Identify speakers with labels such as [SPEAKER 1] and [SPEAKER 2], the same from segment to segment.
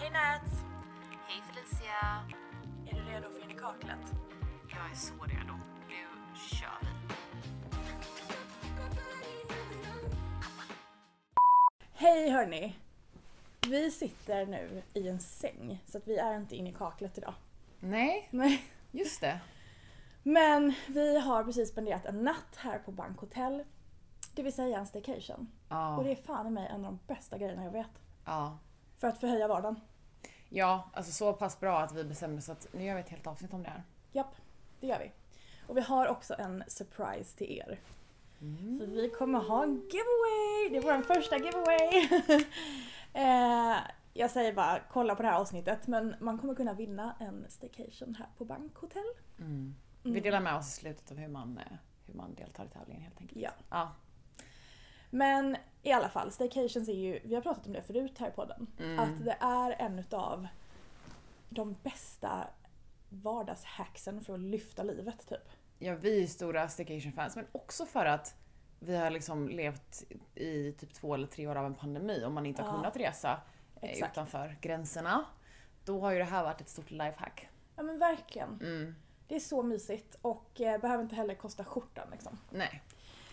[SPEAKER 1] Hej Nat!
[SPEAKER 2] Hej Felicia!
[SPEAKER 1] Är du redo för in i kaklet?
[SPEAKER 2] Jag är så redo. Nu kör vi!
[SPEAKER 1] Hej hörni! Vi sitter nu i en säng så att vi är inte inne i kaklet idag.
[SPEAKER 2] Nej,
[SPEAKER 1] Nej.
[SPEAKER 2] just det.
[SPEAKER 1] Men vi har precis spenderat en natt här på Bank Hotel. Det vill säga en staycation. Och
[SPEAKER 2] Ja,
[SPEAKER 1] det är fan i mig en av de bästa grejerna jag vet.
[SPEAKER 2] ja.
[SPEAKER 1] För att förhöja vardagen.
[SPEAKER 2] ja, alltså så pass bra att vi bestämde oss att nu gör vi ett helt avsnitt om det här.
[SPEAKER 1] Japp, det gör vi. Och vi har också en surprise till er. För vi kommer ha en giveaway! Det är vår första giveaway! eh, jag säger bara kolla på det här avsnittet men man kommer kunna vinna en staycation här på Bank Hotel.
[SPEAKER 2] Mm. Vi
[SPEAKER 1] Mm.
[SPEAKER 2] delar med oss i slutet av hur man, eh, hur man deltar i tävlingen helt enkelt.
[SPEAKER 1] Ja.
[SPEAKER 2] ja.
[SPEAKER 1] Men i alla fall, staycations är ju, vi har pratat om det förut här i podden,
[SPEAKER 2] Mm.
[SPEAKER 1] att det är en utav de bästa vardagshacksen för att lyfta livet typ.
[SPEAKER 2] ja vi är stora staycation-fans men också för att vi har liksom levt i typ två eller tre år av en pandemi och man inte har
[SPEAKER 1] Ja.
[SPEAKER 2] kunnat resa eh,
[SPEAKER 1] Exakt.
[SPEAKER 2] utanför gränserna. Då har ju det här varit ett stort lifehack.
[SPEAKER 1] Ja men verkligen.
[SPEAKER 2] Mm.
[SPEAKER 1] Det är så mysigt och eh, behöver inte heller kosta skjortan liksom.
[SPEAKER 2] Nej.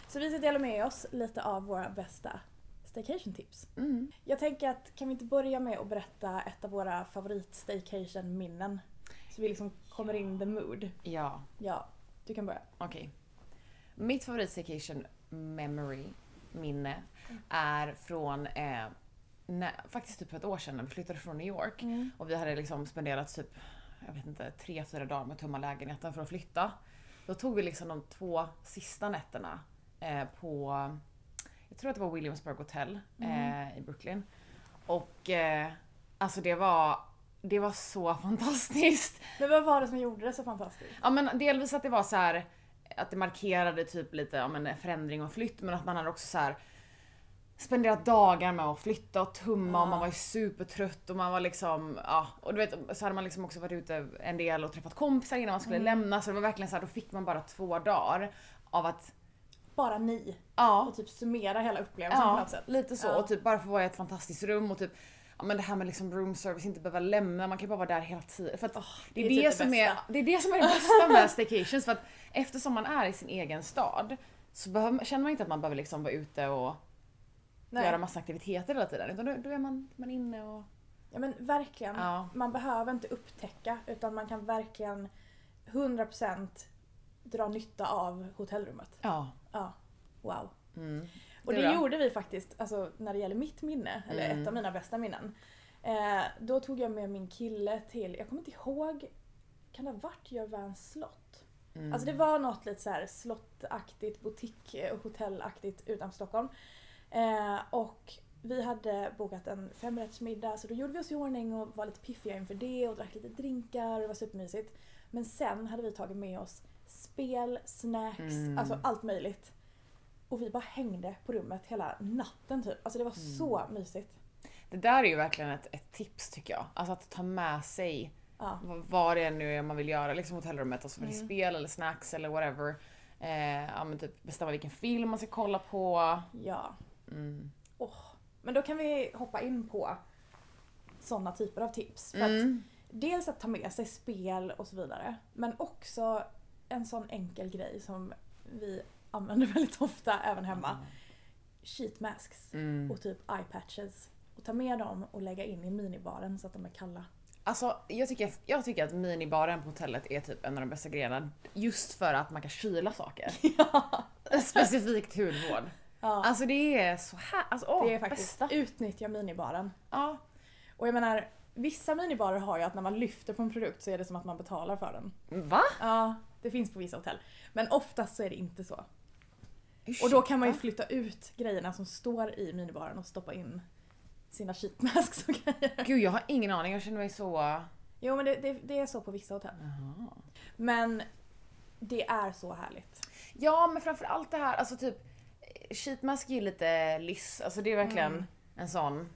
[SPEAKER 1] Så vi ska dela med oss lite av våra bästa staycation-tips.
[SPEAKER 2] Mm.
[SPEAKER 1] Jag tänker att kan vi inte börja med att berätta ett av våra favorit-staycation-minnen? Så vi liksom kommer in the mood.
[SPEAKER 2] Ja,
[SPEAKER 1] Ja, du kan börja.
[SPEAKER 2] Okej. Mitt favoritstaycation memory, minne, är från eh, när, faktiskt typ för ett år sedan när vi flyttade från New York. Och vi hade liksom spenderat typ, jag vet inte, tre, fyra dagar med att tömma lägenheten för att flytta. Då tog vi liksom de två sista nätterna eh, på, jag tror att det var Williamsburg Hotel eh, i Brooklyn. Och eh, alltså det var, det var så fantastiskt.
[SPEAKER 1] Men vad var det som gjorde det så fantastiskt?
[SPEAKER 2] Ja men delvis att det var så här att det markerade typ lite ja, men förändring och flytt men att man hade också så här spenderat dagar med att flytta och tumma och man var ju supertrött och man var liksom, ja och du vet så hade man liksom också varit ute en del och träffat kompisar innan man skulle lämna så det var verkligen så här, då fick man bara två dagar av att,
[SPEAKER 1] Bara ni.
[SPEAKER 2] ja,
[SPEAKER 1] Och typ summera hela upplevelsen på
[SPEAKER 2] ja
[SPEAKER 1] något sätt.
[SPEAKER 2] lite så
[SPEAKER 1] Ja.
[SPEAKER 2] och typ bara få vara i ett fantastiskt rum och typ Ja men det här med liksom room service, inte behöva lämna, man kan bara vara där hela tiden. För att det, är
[SPEAKER 1] det är
[SPEAKER 2] det,
[SPEAKER 1] typ det
[SPEAKER 2] som är,
[SPEAKER 1] bästa.
[SPEAKER 2] det är det som är det bästa med staycations för att eftersom man är i sin egen stad så behöver, känner man inte att man behöver liksom vara ute och
[SPEAKER 1] Nej.
[SPEAKER 2] göra massa aktiviteter hela tiden utan då, då är man, man inne och...
[SPEAKER 1] Ja men verkligen.
[SPEAKER 2] Ja.
[SPEAKER 1] Man behöver inte upptäcka utan man kan verkligen 100% dra nytta av hotellrummet.
[SPEAKER 2] Ja.
[SPEAKER 1] Ja, wow.
[SPEAKER 2] Mm.
[SPEAKER 1] Och
[SPEAKER 2] Du
[SPEAKER 1] det
[SPEAKER 2] då?
[SPEAKER 1] gjorde vi faktiskt, alltså när det gäller mitt minne, eller ett av mina bästa minnen. Eh, då tog jag med min kille till, jag kommer inte ihåg, kan det ha varit Jörvans slott?
[SPEAKER 2] Mm.
[SPEAKER 1] Alltså det var något lite såhär slottaktigt, butik och hotellaktigt utanför Stockholm. Eh, och vi hade bokat en femrättsmiddag så då gjorde vi oss i ordning och var lite piffiga inför det och drack lite drinkar och det var supermysigt. Men sen hade vi tagit med oss spel, snacks, alltså allt möjligt. Och vi bara hängde på rummet hela natten typ. Alltså det var så mysigt.
[SPEAKER 2] Det där är ju verkligen ett, ett tips tycker jag. Alltså att ta med sig
[SPEAKER 1] Ja.
[SPEAKER 2] v- vad det nu är man vill göra, liksom hotellrummet, alltså för
[SPEAKER 1] Mm.
[SPEAKER 2] det är spel eller snacks eller whatever. Eh, ja men typ bestämma vilken film man ska kolla på. Mm.
[SPEAKER 1] Ja. Åh. Men då kan vi hoppa in på sådana typer av tips. För
[SPEAKER 2] Mm.
[SPEAKER 1] att dels att ta med sig spel och så vidare. Men också en sån enkel grej som vi använder väldigt ofta även hemma. Sheet masks
[SPEAKER 2] Mm.
[SPEAKER 1] och typ eye patches. Och ta med dem och lägga in i minibaren så att de är kalla.
[SPEAKER 2] Alltså jag tycker, jag tycker att minibaren på hotellet är typ en av de bästa grejerna just för att man kan kyla saker. Specifikt hudvård.
[SPEAKER 1] Ja.
[SPEAKER 2] Alltså det är så här, alltså åh,
[SPEAKER 1] det är faktiskt,
[SPEAKER 2] bästa.
[SPEAKER 1] utnyttja minibaren.
[SPEAKER 2] Ja,
[SPEAKER 1] Och jag menar, vissa minibarer har ju att när man lyfter på en produkt så är det som att man betalar för den.
[SPEAKER 2] va?
[SPEAKER 1] Ja, det finns på vissa hotell. Men oftast så är det inte så. Och då kan man ju
[SPEAKER 2] Ursäkta?
[SPEAKER 1] flytta ut grejerna som står i minibaren och stoppa in sina sheetmasks och grejer.
[SPEAKER 2] Gud jag har ingen aning, jag känner mig så...
[SPEAKER 1] Jo men det, det, det är så på vissa hotell. Men det är så härligt.
[SPEAKER 2] Ja men framförallt det här, alltså typ eh, sheetmask är ju lite lyss, alltså det är verkligen en sån,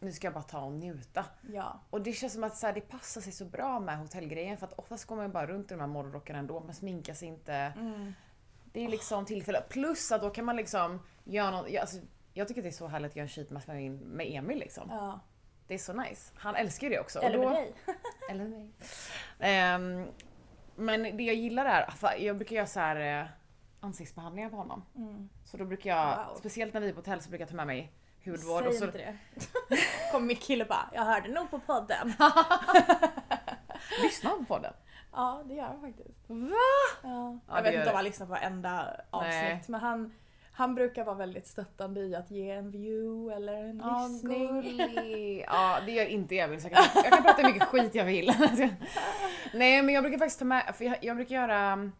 [SPEAKER 2] nu ska jag bara ta och njuta.
[SPEAKER 1] Ja.
[SPEAKER 2] Och det känns som att så här, det passar sig så bra med hotellgrejen för att oftast går man ju bara runt i de här morgonrockarna ändå, man sminkar sig inte.
[SPEAKER 1] Mm.
[SPEAKER 2] Det är liksom tillfälle. Plus att då kan man liksom göra något, jag, alltså, jag tycker att det är så härligt att göra en sheetmask med, min- med Emil liksom.
[SPEAKER 1] ja.
[SPEAKER 2] Det är så nice. Han älskar ju det också. Och
[SPEAKER 1] Eller med
[SPEAKER 2] då-
[SPEAKER 1] dig.
[SPEAKER 2] Eller mig. Ehm, men det jag gillar är, jag brukar göra så här eh, ansiktsbehandlingar på honom.
[SPEAKER 1] Mm.
[SPEAKER 2] Så då brukar jag,
[SPEAKER 1] Wow.
[SPEAKER 2] speciellt när vi är på hotell så brukar jag ta med mig hudvård
[SPEAKER 1] Säg
[SPEAKER 2] och så
[SPEAKER 1] inte det. Kommer min kille bara, jag hörde nog på podden.
[SPEAKER 2] lyssnar han på den.
[SPEAKER 1] ja, det gör han faktiskt.
[SPEAKER 2] Va?
[SPEAKER 1] Ja.
[SPEAKER 2] Ja,
[SPEAKER 1] jag
[SPEAKER 2] det
[SPEAKER 1] vet inte
[SPEAKER 2] gör
[SPEAKER 1] om
[SPEAKER 2] det.
[SPEAKER 1] han lyssnar på varenda avsnitt
[SPEAKER 2] Nej.
[SPEAKER 1] men han, han brukar vara väldigt stöttande i att ge en view eller en
[SPEAKER 2] Ja,
[SPEAKER 1] lyssning.
[SPEAKER 2] gullig. Ja, det gör inte Evin så jag kan, jag kan prata hur mycket skit jag vill. Nej men jag brukar faktiskt ta med, för jag, jag brukar göra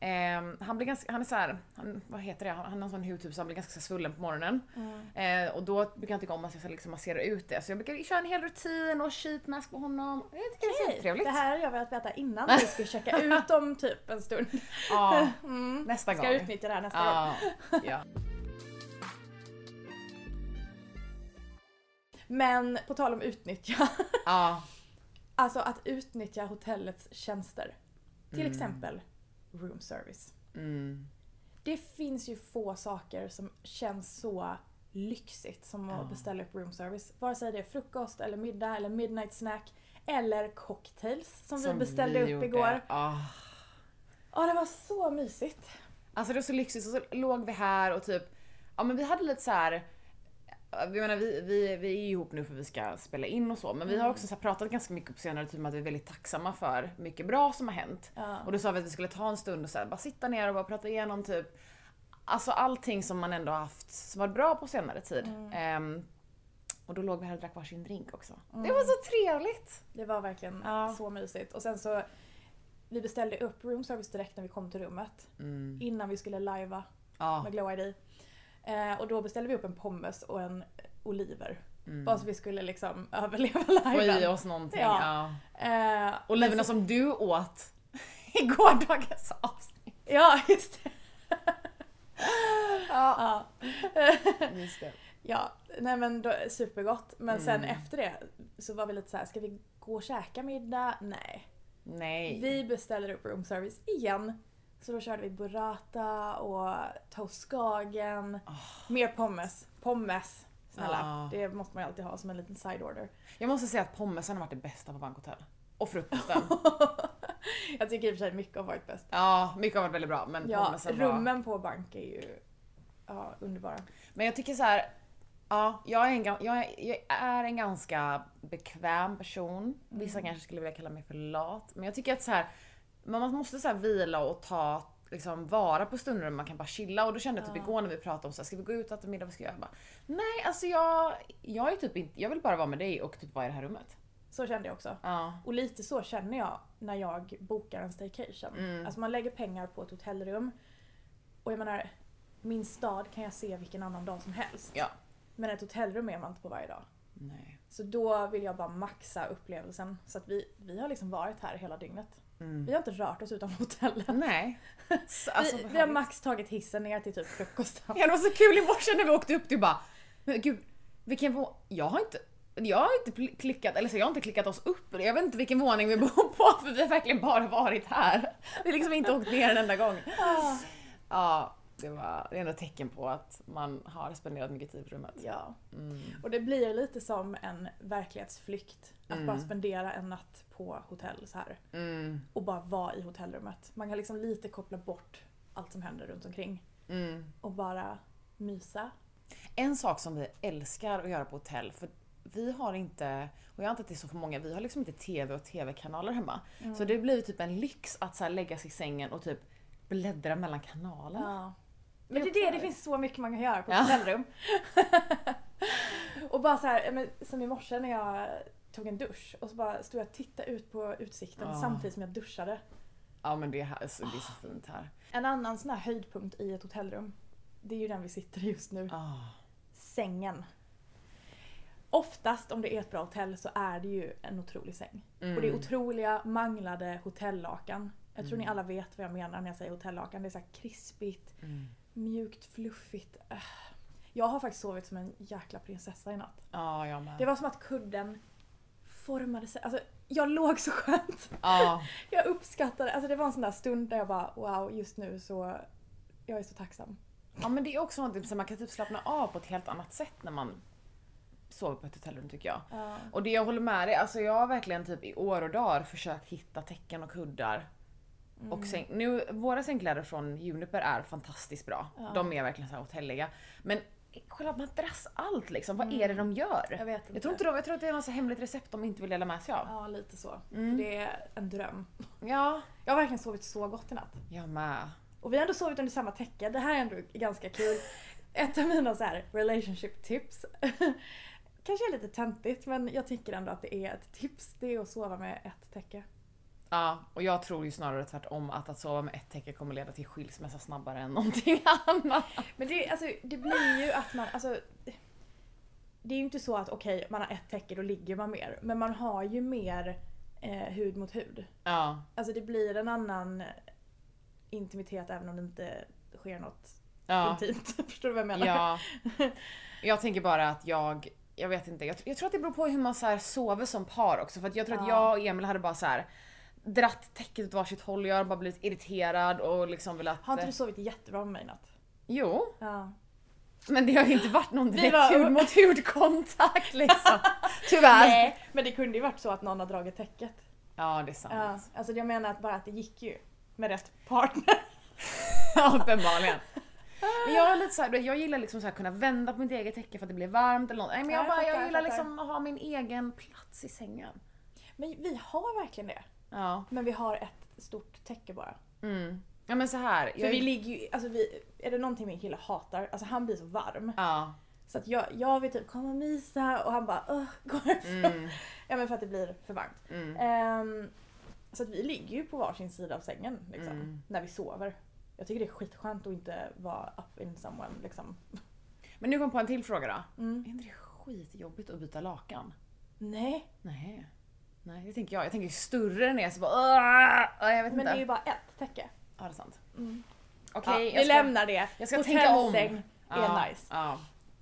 [SPEAKER 2] ehm, han blir ganska, han är såhär, han, vad heter det, han, han har en sån hudtyp så han blir ganska så här svullen på morgonen.
[SPEAKER 1] Mm.
[SPEAKER 2] Eh, och då brukar jag tycka om att jag ska liksom massera ut det. Så jag brukar köra en hel rutin och sheet mask på honom. Jag tycker det är
[SPEAKER 1] Okej,
[SPEAKER 2] jättetrevligt.
[SPEAKER 1] Alltså, det här har jag velat veta innan vi skulle checka ut om typ en stund.
[SPEAKER 2] Ja,
[SPEAKER 1] Mm.
[SPEAKER 2] nästa
[SPEAKER 1] Ska
[SPEAKER 2] gång.
[SPEAKER 1] utnyttja det här nästa gång.
[SPEAKER 2] Ja, ja.
[SPEAKER 1] Men på tal om utnyttja,
[SPEAKER 2] ja.
[SPEAKER 1] alltså att utnyttja hotellets tjänster. Till exempel room service.
[SPEAKER 2] Mm.
[SPEAKER 1] Det finns ju få saker som känns så lyxigt som att
[SPEAKER 2] Ja.
[SPEAKER 1] beställa upp room service. Vare sig det är frukost eller middag eller midnight snack eller cocktails som, vi beställde upp
[SPEAKER 2] gjorde.
[SPEAKER 1] igår.
[SPEAKER 2] Ah.
[SPEAKER 1] Ja, det var så mysigt.
[SPEAKER 2] Alltså det var så lyxigt och så låg vi här och typ, ja men vi hade lite så här. Jag menar vi, vi, vi är ju ihop nu för vi ska spela in och så men
[SPEAKER 1] Mm.
[SPEAKER 2] vi har också så här pratat ganska mycket på senare tid om att vi är väldigt tacksamma för mycket bra som har hänt.
[SPEAKER 1] Ja.
[SPEAKER 2] Och då sa vi att vi skulle ta en stund och så här, bara sitta ner och bara prata igenom typ Alltså allting som man ändå har haft som varit bra på senare tid.
[SPEAKER 1] Mm.
[SPEAKER 2] Ehm, och då låg vi här och drack varsin drink också.
[SPEAKER 1] Mm.
[SPEAKER 2] Det var så trevligt!
[SPEAKER 1] Det var verkligen
[SPEAKER 2] Ja.
[SPEAKER 1] så mysigt. Och sen så, vi beställde upp room service direkt när vi kom till rummet. Innan vi skulle lajva
[SPEAKER 2] Ja,
[SPEAKER 1] med Glow ID. Eh, och då beställde vi upp en pommes och en oliver.
[SPEAKER 2] Mm.
[SPEAKER 1] Bara så vi skulle liksom överleva
[SPEAKER 2] få i
[SPEAKER 1] liven.
[SPEAKER 2] oss någonting.
[SPEAKER 1] Ja.
[SPEAKER 2] Ja.
[SPEAKER 1] Eh,
[SPEAKER 2] Oliverna som du åt i gårdagens avsnitt.
[SPEAKER 1] ja, just det. ja.
[SPEAKER 2] Just det.
[SPEAKER 1] Ja, nej men då, supergott.
[SPEAKER 2] Mm.
[SPEAKER 1] Men sen efter det så var vi lite så här: ska vi gå och käka middag? Nej.
[SPEAKER 2] Nej.
[SPEAKER 1] Vi beställer upp room service igen. Så då körde vi burrata och toast skagen.
[SPEAKER 2] Ah.
[SPEAKER 1] Mer pommes. Pommes. Snälla.
[SPEAKER 2] Ja.
[SPEAKER 1] Det måste man ju alltid ha som en liten side order.
[SPEAKER 2] Jag måste säga att pommesen har varit det bästa på bankhotell. Och frukosten.
[SPEAKER 1] Jag tycker i och för sig mycket har varit bäst.
[SPEAKER 2] ja, mycket har varit väldigt bra men
[SPEAKER 1] Ja,
[SPEAKER 2] pommesen var...
[SPEAKER 1] rummen på bank är ju ja, underbara.
[SPEAKER 2] Men jag tycker så här. Ja, jag är, en, gan- jag, är, jag är en ganska bekväm person. Vissa
[SPEAKER 1] Mm.
[SPEAKER 2] kanske skulle vilja kalla mig för lat. Men jag tycker att så här, man man måste så här vila och ta liksom, vara på stunder där man kan bara chilla. Och då kände jag typ igår när vi pratade om så här, ska vi gå ut och äta middag, vad ska jag göra? Jag bara, Nej, alltså jag, jag är typ inte, jag vill bara vara med dig och typ vara i det här rummet.
[SPEAKER 1] Så kände jag också.
[SPEAKER 2] Ja.
[SPEAKER 1] Och lite så känner jag när jag bokar en staycation.
[SPEAKER 2] Mm.
[SPEAKER 1] Alltså man lägger pengar på ett hotellrum. Och jag menar, min stad kan jag se vilken annan dag som helst.
[SPEAKER 2] Ja.
[SPEAKER 1] Men ett hotellrum är man inte på varje dag.
[SPEAKER 2] Nej.
[SPEAKER 1] Så då vill jag bara maxa upplevelsen. Så att vi, vi har liksom varit här hela dygnet. Vi har inte rört oss utanför hotellet.
[SPEAKER 2] Nej. Så, Mm. alltså,
[SPEAKER 1] vi, vi har
[SPEAKER 2] härligt.
[SPEAKER 1] max tagit hissen ner till typ frukosten.
[SPEAKER 2] Ja, det var så kul i morse när vi åkte upp, du bara Men gud, vilken våning, jag har inte jag har inte pl- klickat, eller så jag har inte klickat oss upp, jag vet inte vilken våning vi bor på för vi har verkligen bara varit här. Vi har liksom inte åkt ner en enda gång.
[SPEAKER 1] Ah.
[SPEAKER 2] Ja, det var det är ändå ett tecken på att man har spenderat mycket tid i rummet. Mm,
[SPEAKER 1] Ja. Och det blir lite som en verklighetsflykt. Att bara spendera en natt på hotell så här.
[SPEAKER 2] Mm,
[SPEAKER 1] och bara vara i hotellrummet. Man kan liksom lite koppla bort allt som händer runt omkring
[SPEAKER 2] mm.
[SPEAKER 1] och bara mysa.
[SPEAKER 2] En sak som vi älskar att göra på hotell, för vi har inte, och jag antar att det är så för många, vi har liksom inte TV och TV-kanaler hemma. Så det blir typ en lyx att så här lägga sig i sängen och typ bläddra mellan kanalerna.
[SPEAKER 1] Ja. Men det
[SPEAKER 2] Det
[SPEAKER 1] är det,
[SPEAKER 2] också
[SPEAKER 1] det
[SPEAKER 2] är-
[SPEAKER 1] finns så mycket man kan göra på
[SPEAKER 2] Mm. Ja.
[SPEAKER 1] ett hotellrum. och bara så här, ja, men som i morse när jag tog en dusch och så bara stod jag och tittade ut på utsikten
[SPEAKER 2] Ja.
[SPEAKER 1] samtidigt som jag duschade.
[SPEAKER 2] Ja men det är, här, alltså, det är
[SPEAKER 1] Ah.
[SPEAKER 2] så fint här.
[SPEAKER 1] En annan sån här höjdpunkt i ett hotellrum, det är ju den vi sitter i just nu.
[SPEAKER 2] Ah,
[SPEAKER 1] Sängen. Oftast om det är ett bra hotell så är det ju en otrolig säng. Och
[SPEAKER 2] Mm.
[SPEAKER 1] det är otroliga manglade hotellakan. Jag tror ni alla vet vad jag menar när jag säger hotellakan. Det är så här krispigt,
[SPEAKER 2] Mm.
[SPEAKER 1] mjukt, fluffigt. Äh. Jag har faktiskt sovit som en jäkla prinsessa i natt.
[SPEAKER 2] Ja, Ah, jag
[SPEAKER 1] Det
[SPEAKER 2] med.
[SPEAKER 1] var som att kudden formade sig. Alltså, jag låg så skönt.
[SPEAKER 2] Ja,
[SPEAKER 1] Jag uppskattade, alltså det var en sån där stund där jag bara wow, just nu så, jag är så tacksam.
[SPEAKER 2] ja men det är också något som man kan typ slappna av på ett helt annat sätt när man sover på ett hotellrum tycker jag.
[SPEAKER 1] Ja.
[SPEAKER 2] Och det jag håller med dig, alltså jag har verkligen typ i år och dagar försökt hitta täcken och kuddar.
[SPEAKER 1] Mm.
[SPEAKER 2] Och säng, nu, våra sängkläder från Juniper är fantastiskt bra.
[SPEAKER 1] Ja.
[SPEAKER 2] De är verkligen så här hotelliga. Men själva madrass, allt liksom.
[SPEAKER 1] Mm.
[SPEAKER 2] Vad är det de gör?
[SPEAKER 1] Jag vet inte.
[SPEAKER 2] Jag tror, inte de, jag tror att det är något så hemligt recept de inte vill dela med sig av.
[SPEAKER 1] Ja, lite så.
[SPEAKER 2] Mm.
[SPEAKER 1] Det är en dröm.
[SPEAKER 2] Ja,
[SPEAKER 1] Jag har verkligen sovit så gott i natt.
[SPEAKER 2] jag med.
[SPEAKER 1] Och vi har ändå sovit under samma täcke. Det här är ändå ganska kul. Ett av mina så här relationship tips. Kanske är lite töntigt men jag tycker ändå att det är ett tips. Det är att sova med ett täcke.
[SPEAKER 2] Ja, och jag tror ju snarare tvärtom att att sova med ett täcke kommer leda till skilsmässa snabbare än någonting annat.
[SPEAKER 1] Men det, alltså, det blir ju att man... Alltså, det är ju inte så att okej, man har ett täcke då ligger man mer. Men man har ju mer eh, hud mot hud.
[SPEAKER 2] Ja,
[SPEAKER 1] Alltså det blir en annan intimitet även om det inte sker något
[SPEAKER 2] ja,
[SPEAKER 1] intimt. Förstår du vad jag menar?
[SPEAKER 2] ja. Jag tänker bara att jag, jag vet inte, jag, tr- jag tror att det beror på hur man så här sover som par också för att jag tror att
[SPEAKER 1] Ja.
[SPEAKER 2] jag och Emil hade bara så här dratt täcket åt varsitt håll och jag hade bara blivit irriterad och liksom velat...
[SPEAKER 1] Har inte du sovit jättebra med mig i natt?
[SPEAKER 2] Jo,
[SPEAKER 1] Ja.
[SPEAKER 2] men det har ju inte varit någon direkt
[SPEAKER 1] var-
[SPEAKER 2] hud mot hudkontakt liksom. Tyvärr.
[SPEAKER 1] Nej, men det kunde ju varit så att någon har dragit täcket.
[SPEAKER 2] Ja, det är sant.
[SPEAKER 1] Ja, alltså jag menar att bara att det gick ju med rätt partner.
[SPEAKER 2] Ja, Uppenbarligen. Men jag, är lite så här, du vet, jag gillar liksom så här, kunna vända på mitt eget täcke för att det blir varmt eller något. Nej, men jag,
[SPEAKER 1] Ja, jag
[SPEAKER 2] bara,
[SPEAKER 1] fattar,
[SPEAKER 2] jag
[SPEAKER 1] jag
[SPEAKER 2] gillar
[SPEAKER 1] fattar.
[SPEAKER 2] liksom att ha min egen plats i sängen.
[SPEAKER 1] Men vi har verkligen det.
[SPEAKER 2] Ja.
[SPEAKER 1] Men vi har ett stort täcke bara.
[SPEAKER 2] Mm. Ja men så här.
[SPEAKER 1] För
[SPEAKER 2] Jag,
[SPEAKER 1] vi ligger ju, alltså vi, är det någonting min kille hatar, alltså han blir så varm.
[SPEAKER 2] ja.
[SPEAKER 1] Så att jag, jag vill typ komma och mysa och han bara "Åh, gå härifrån."
[SPEAKER 2] Mm.
[SPEAKER 1] Ja men för att det blir för varmt.
[SPEAKER 2] Mm.
[SPEAKER 1] Ehm, så att vi ligger ju på varsin sida av sängen liksom,
[SPEAKER 2] Mm.
[SPEAKER 1] när vi sover. Jag tycker det är skitskönt att inte vara up in someone liksom.
[SPEAKER 2] Men nu kom jag på en till fråga då.
[SPEAKER 1] Mm.
[SPEAKER 2] Är inte det skitjobbigt att byta lakan?
[SPEAKER 1] Nej,
[SPEAKER 2] Nej. Nej det tänker jag. Jag tänker ju större än er så bara "Åh!" Ja, Jag vet
[SPEAKER 1] men det
[SPEAKER 2] inte.
[SPEAKER 1] är ju bara ett täcke.
[SPEAKER 2] Ja det är sant.
[SPEAKER 1] Mm.
[SPEAKER 2] Okej
[SPEAKER 1] ja, vi
[SPEAKER 2] jag ska,
[SPEAKER 1] lämnar det.
[SPEAKER 2] jag ska tänka om.
[SPEAKER 1] Hotellsäng är
[SPEAKER 2] Ja,
[SPEAKER 1] nice.
[SPEAKER 2] Ja.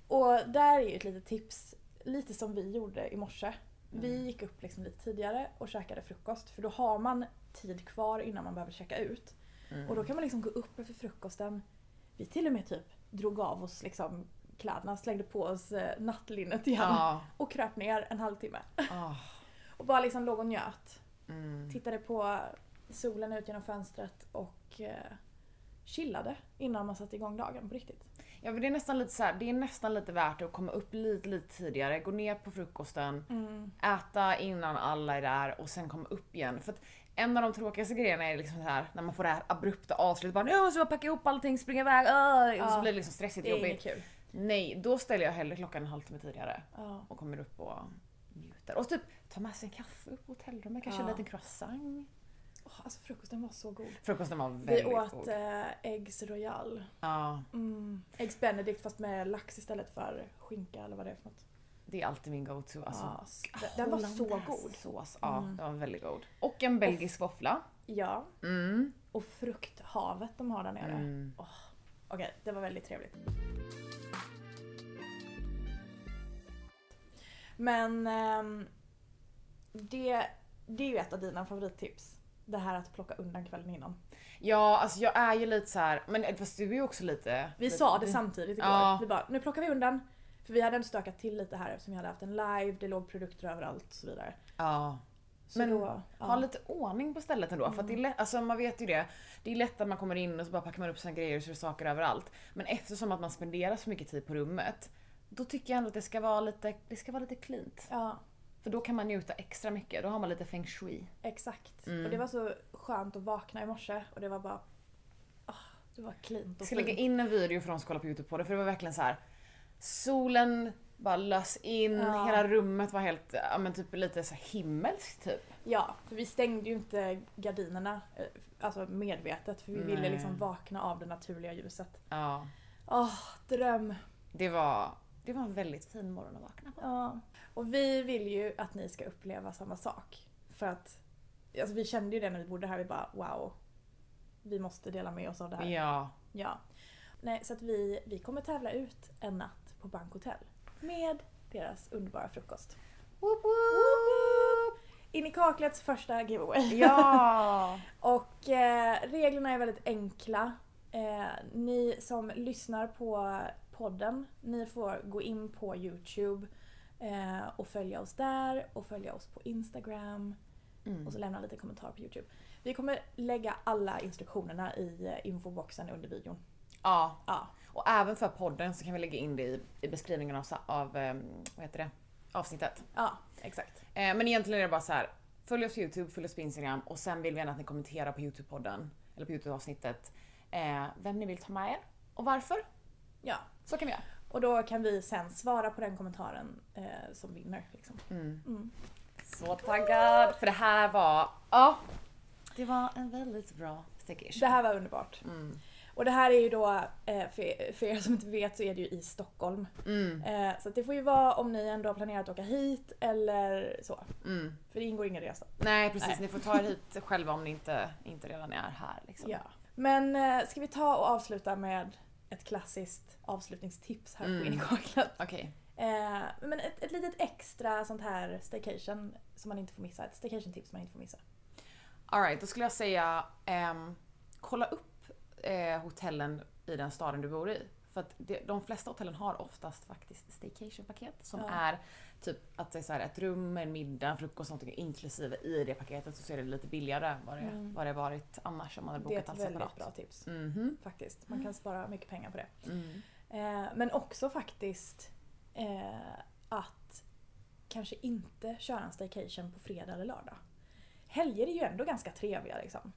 [SPEAKER 1] Och där är ju ett litet tips, lite som vi gjorde i morse. Vi
[SPEAKER 2] Mm.
[SPEAKER 1] gick upp liksom lite tidigare och käkade frukost för då har man tid kvar innan man behöver checka ut. Och då
[SPEAKER 2] Mm.
[SPEAKER 1] kan man liksom gå upp efter frukosten. Vi till och med typ drog av oss liksom kläderna, slängde på oss eh, nattlinnet igen
[SPEAKER 2] Ja.
[SPEAKER 1] och kröp ner en halvtimme.
[SPEAKER 2] Ah.
[SPEAKER 1] Och bara liksom låg och njöt.
[SPEAKER 2] Mm.
[SPEAKER 1] Tittade på solen ut genom fönstret och eh, chillade innan man satte igång dagen på riktigt.
[SPEAKER 2] Ja, men det, är nästan lite så här, det är nästan lite värt att komma upp lite, lite tidigare, gå ner på frukosten, äta innan alla är där och sen komma upp igen. För att en av de tråkigaste grejerna är liksom så här, när man får det här abrupta avslutet. Bara, nu måste jag packa ihop allting, springa iväg, öh", och så
[SPEAKER 1] Ja.
[SPEAKER 2] blir det liksom stressigt
[SPEAKER 1] Det är inget kul.
[SPEAKER 2] jobbigt. Nej, då ställer jag hellre klockan en halvtimme tidigare
[SPEAKER 1] Ja.
[SPEAKER 2] och kommer upp och njuter. Och typ ta med sig en kaffe upp på hotellrummet, kanske en
[SPEAKER 1] Ja.
[SPEAKER 2] liten croissant.
[SPEAKER 1] Åh, alltså frukosten var så god.
[SPEAKER 2] Frukosten var
[SPEAKER 1] Vi
[SPEAKER 2] väldigt
[SPEAKER 1] åt
[SPEAKER 2] god.
[SPEAKER 1] eh, Eggs Royal.
[SPEAKER 2] Ja,
[SPEAKER 1] Eggs Benedict fast med lax istället för skinka eller vad det är för något.
[SPEAKER 2] det är alltid min go-to. Alltså,
[SPEAKER 1] Ja, s- den- den var så
[SPEAKER 2] Hollandaise
[SPEAKER 1] god. Mm.
[SPEAKER 2] Sås. Ja, den var väldigt god. Och en belgisk våffla.
[SPEAKER 1] Ja.
[SPEAKER 2] Mm.
[SPEAKER 1] Och frukthavet de har där nere. Åh, Okej, det var väldigt trevligt. Men ehm, det, det är ju ett av dina favorittips. Det här att plocka undan kvällen innan.
[SPEAKER 2] Ja, alltså jag är ju lite så här, men eh, fast du är ju också lite...
[SPEAKER 1] Vi
[SPEAKER 2] lite,
[SPEAKER 1] sa det samtidigt igår.
[SPEAKER 2] Ja.
[SPEAKER 1] Vi bara, nu plockar vi undan. För vi hade ändå stökat till lite här eftersom jag hade haft en live, det låg produkter överallt och så vidare.
[SPEAKER 2] Ja.
[SPEAKER 1] Så
[SPEAKER 2] Men
[SPEAKER 1] då, ja. Mm.
[SPEAKER 2] Ha lite ordning på stället ändå. För att det är lätt, alltså man vet ju det. Det är lätt att man kommer in och så bara packar man upp sina grejer så det är saker överallt. Men eftersom att man spenderar så mycket tid på rummet. Då tycker jag ändå att det ska vara lite, det ska vara lite cleant.
[SPEAKER 1] Ja,
[SPEAKER 2] För då kan man njuta extra mycket. Då har man lite feng shui.
[SPEAKER 1] exakt. Och det var så skönt att vakna i morse och det var bara... ah, det var cleant
[SPEAKER 2] Jag
[SPEAKER 1] och
[SPEAKER 2] ska lägga
[SPEAKER 1] fint.
[SPEAKER 2] in en video för de som kollar på youtube på det för det var verkligen så här. Solen bara lös in,
[SPEAKER 1] Ja.
[SPEAKER 2] hela rummet var helt, ja men typ lite så här himmelskt typ.
[SPEAKER 1] Ja, för vi stängde ju inte gardinerna eh, alltså medvetet för vi ville
[SPEAKER 2] Nej.
[SPEAKER 1] liksom vakna av det naturliga ljuset.
[SPEAKER 2] Ja.
[SPEAKER 1] Åh, dröm!
[SPEAKER 2] Det var, det var en väldigt fin morgon att vakna på.
[SPEAKER 1] Ja. Och vi vill ju att ni ska uppleva samma sak. För att alltså vi kände ju det när vi bodde här, vi bara wow. Vi måste dela med oss av det här.
[SPEAKER 2] Ja.
[SPEAKER 1] Ja. Nej, så att vi, vi kommer tävla ut en natt på bankhotell. Med deras underbara frukost.
[SPEAKER 2] Woop woop.
[SPEAKER 1] In i kaklets första giveaway.
[SPEAKER 2] Ja!
[SPEAKER 1] Och eh, reglerna är väldigt enkla. Eh, ni som lyssnar på podden, ni får gå in på Youtube Eh, och följa oss där och följa oss på Instagram. Och så lämna lite kommentarer på Youtube. Vi kommer lägga alla instruktionerna i eh, infoboxen under videon.
[SPEAKER 2] Ja,
[SPEAKER 1] Ja,
[SPEAKER 2] och även för podden så kan vi lägga in det i, i beskrivningen av, sa- av eh, vad heter det? avsnittet.
[SPEAKER 1] ja exakt.
[SPEAKER 2] Eh, men egentligen är det bara så här. Följ oss på Youtube, följ oss på Instagram och sen vill vi gärna att ni kommenterar på Youtube-podden eller på Youtube-avsnittet eh, vem ni vill ta med er och varför.
[SPEAKER 1] Ja.
[SPEAKER 2] Så kan vi göra.
[SPEAKER 1] Och då kan vi sen svara på den kommentaren eh, som vinner. Liksom.
[SPEAKER 2] Så taggad! För det här var... Ja. Det var en väldigt bra
[SPEAKER 1] Det
[SPEAKER 2] staycation.
[SPEAKER 1] här var underbart.
[SPEAKER 2] Mm.
[SPEAKER 1] Och det här är ju då, eh, för, för er som inte vet så är det ju i Stockholm.
[SPEAKER 2] Mm.
[SPEAKER 1] Eh, Så att det får ju vara om ni ändå har planerat att åka hit eller så. För det ingår ingen resa.
[SPEAKER 2] Mm. Nej precis,
[SPEAKER 1] Nej.
[SPEAKER 2] ni får ta er hit själva om ni inte, inte redan är här. Liksom.
[SPEAKER 1] Ja. Men eh, ska vi ta och avsluta med ett klassiskt avslutningstips här på
[SPEAKER 2] Mm.
[SPEAKER 1] Innekaklat?
[SPEAKER 2] Okej.
[SPEAKER 1] Eh, men ett, ett litet extra sånt här staycation som man inte får missa. Ett staycation-tips man inte får missa.
[SPEAKER 2] Alright, då skulle jag säga ehm, kolla upp eh, hotellen i den staden du bor i. För att det, de flesta hotellen har oftast faktiskt staycation-paket som
[SPEAKER 1] Ja.
[SPEAKER 2] är typ att det är så här ett rum, en middag, frukost och sånt inklusive i det paketet så ser det lite billigare än vad det,
[SPEAKER 1] Mm.
[SPEAKER 2] vad det varit annars om man hade
[SPEAKER 1] Det är
[SPEAKER 2] bokat
[SPEAKER 1] ett
[SPEAKER 2] allt
[SPEAKER 1] väldigt
[SPEAKER 2] separat.
[SPEAKER 1] bra tips
[SPEAKER 2] Mhm.
[SPEAKER 1] faktiskt. Man kan spara mycket pengar på det.
[SPEAKER 2] Mm.
[SPEAKER 1] Eh, men också faktiskt eh, att kanske inte köra en staycation på fredag eller lördag. Helger är ju ändå ganska trevliga liksom.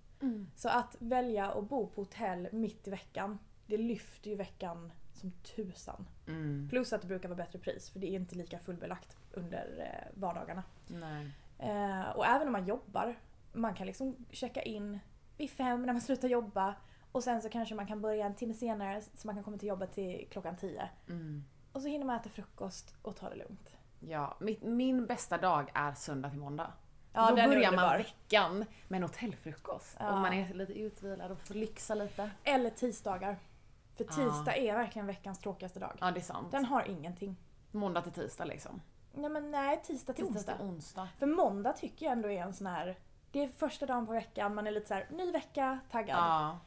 [SPEAKER 1] Så att välja att bo på hotell mitt i veckan, det lyfter ju veckan som tusan.
[SPEAKER 2] Mm.
[SPEAKER 1] Plus att det brukar vara bättre pris för det är inte lika fullbelagt under eh, vardagarna.
[SPEAKER 2] Nej.
[SPEAKER 1] Eh, och även om man jobbar, man kan liksom checka in vid fem när man slutar jobba och sen så kanske man kan börja en timme senare så man kan komma till jobbet till klockan tio.
[SPEAKER 2] Mm.
[SPEAKER 1] Och så hinner man äta frukost och ta det lugnt.
[SPEAKER 2] Ja, mitt, min bästa dag är söndag till måndag.
[SPEAKER 1] Ja,
[SPEAKER 2] då
[SPEAKER 1] den är
[SPEAKER 2] börjar man
[SPEAKER 1] underbar.
[SPEAKER 2] veckan med en hotellfrukost.
[SPEAKER 1] Ja.
[SPEAKER 2] Och man är lite utvilad och får lyxa lite.
[SPEAKER 1] Eller tisdagar. För
[SPEAKER 2] Ja.
[SPEAKER 1] tisdag är verkligen veckans tråkigaste dag.
[SPEAKER 2] Ja, det är sant.
[SPEAKER 1] Den har ingenting.
[SPEAKER 2] Måndag till tisdag liksom.
[SPEAKER 1] Nej men nej, tisdag till
[SPEAKER 2] Tisdag
[SPEAKER 1] onsdag.
[SPEAKER 2] till onsdag.
[SPEAKER 1] För måndag tycker jag ändå är en sån här... Det är första dagen på veckan, man är lite så här ny vecka, taggad.
[SPEAKER 2] Ja.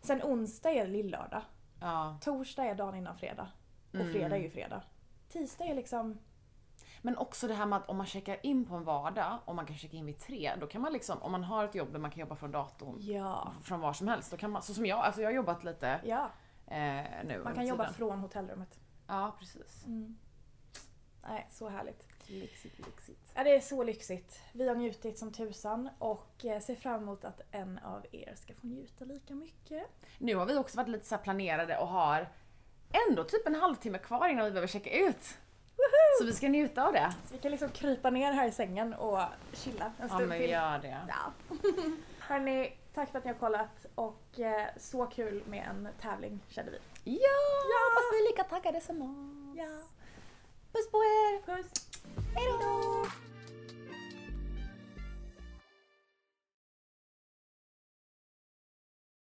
[SPEAKER 1] Sen onsdag är lillördag.
[SPEAKER 2] ja.
[SPEAKER 1] Torsdag är dagen innan fredag. Och
[SPEAKER 2] Mm.
[SPEAKER 1] fredag är ju fredag. Tisdag är liksom...
[SPEAKER 2] Men också det här med att om man checkar in på en vardag och man kan checka in vid tre, då kan man liksom, om man har ett jobb där man kan jobba från datorn,
[SPEAKER 1] Ja.
[SPEAKER 2] från var som helst, då kan man, så som jag, alltså jag har jobbat lite
[SPEAKER 1] Ja,
[SPEAKER 2] eh, nu
[SPEAKER 1] man
[SPEAKER 2] under
[SPEAKER 1] kan jobba
[SPEAKER 2] tiden.
[SPEAKER 1] från hotellrummet. Mm.
[SPEAKER 2] Ja, precis.
[SPEAKER 1] Nej, så härligt.
[SPEAKER 2] Lyxigt, lyxigt.
[SPEAKER 1] Ja, det är så lyxigt. Vi har njutit som tusan och eh, ser fram emot att en av er ska få njuta lika mycket.
[SPEAKER 2] Nu har vi också varit lite så här planerade och har ändå typ en halvtimme kvar innan vi behöver checka ut. Så vi ska njuta av det.
[SPEAKER 1] Så vi kan liksom krypa ner här i sängen och chilla en
[SPEAKER 2] Ja
[SPEAKER 1] stund
[SPEAKER 2] men
[SPEAKER 1] till.
[SPEAKER 2] gör det.
[SPEAKER 1] Ja. Hörni, tack för att ni har kollat och eh, så kul med en tävling kände vi.
[SPEAKER 2] Ja! Hoppas ni är lika taggade som oss.
[SPEAKER 1] Ja.
[SPEAKER 2] Puss på er!
[SPEAKER 1] Puss!
[SPEAKER 2] Hejdå!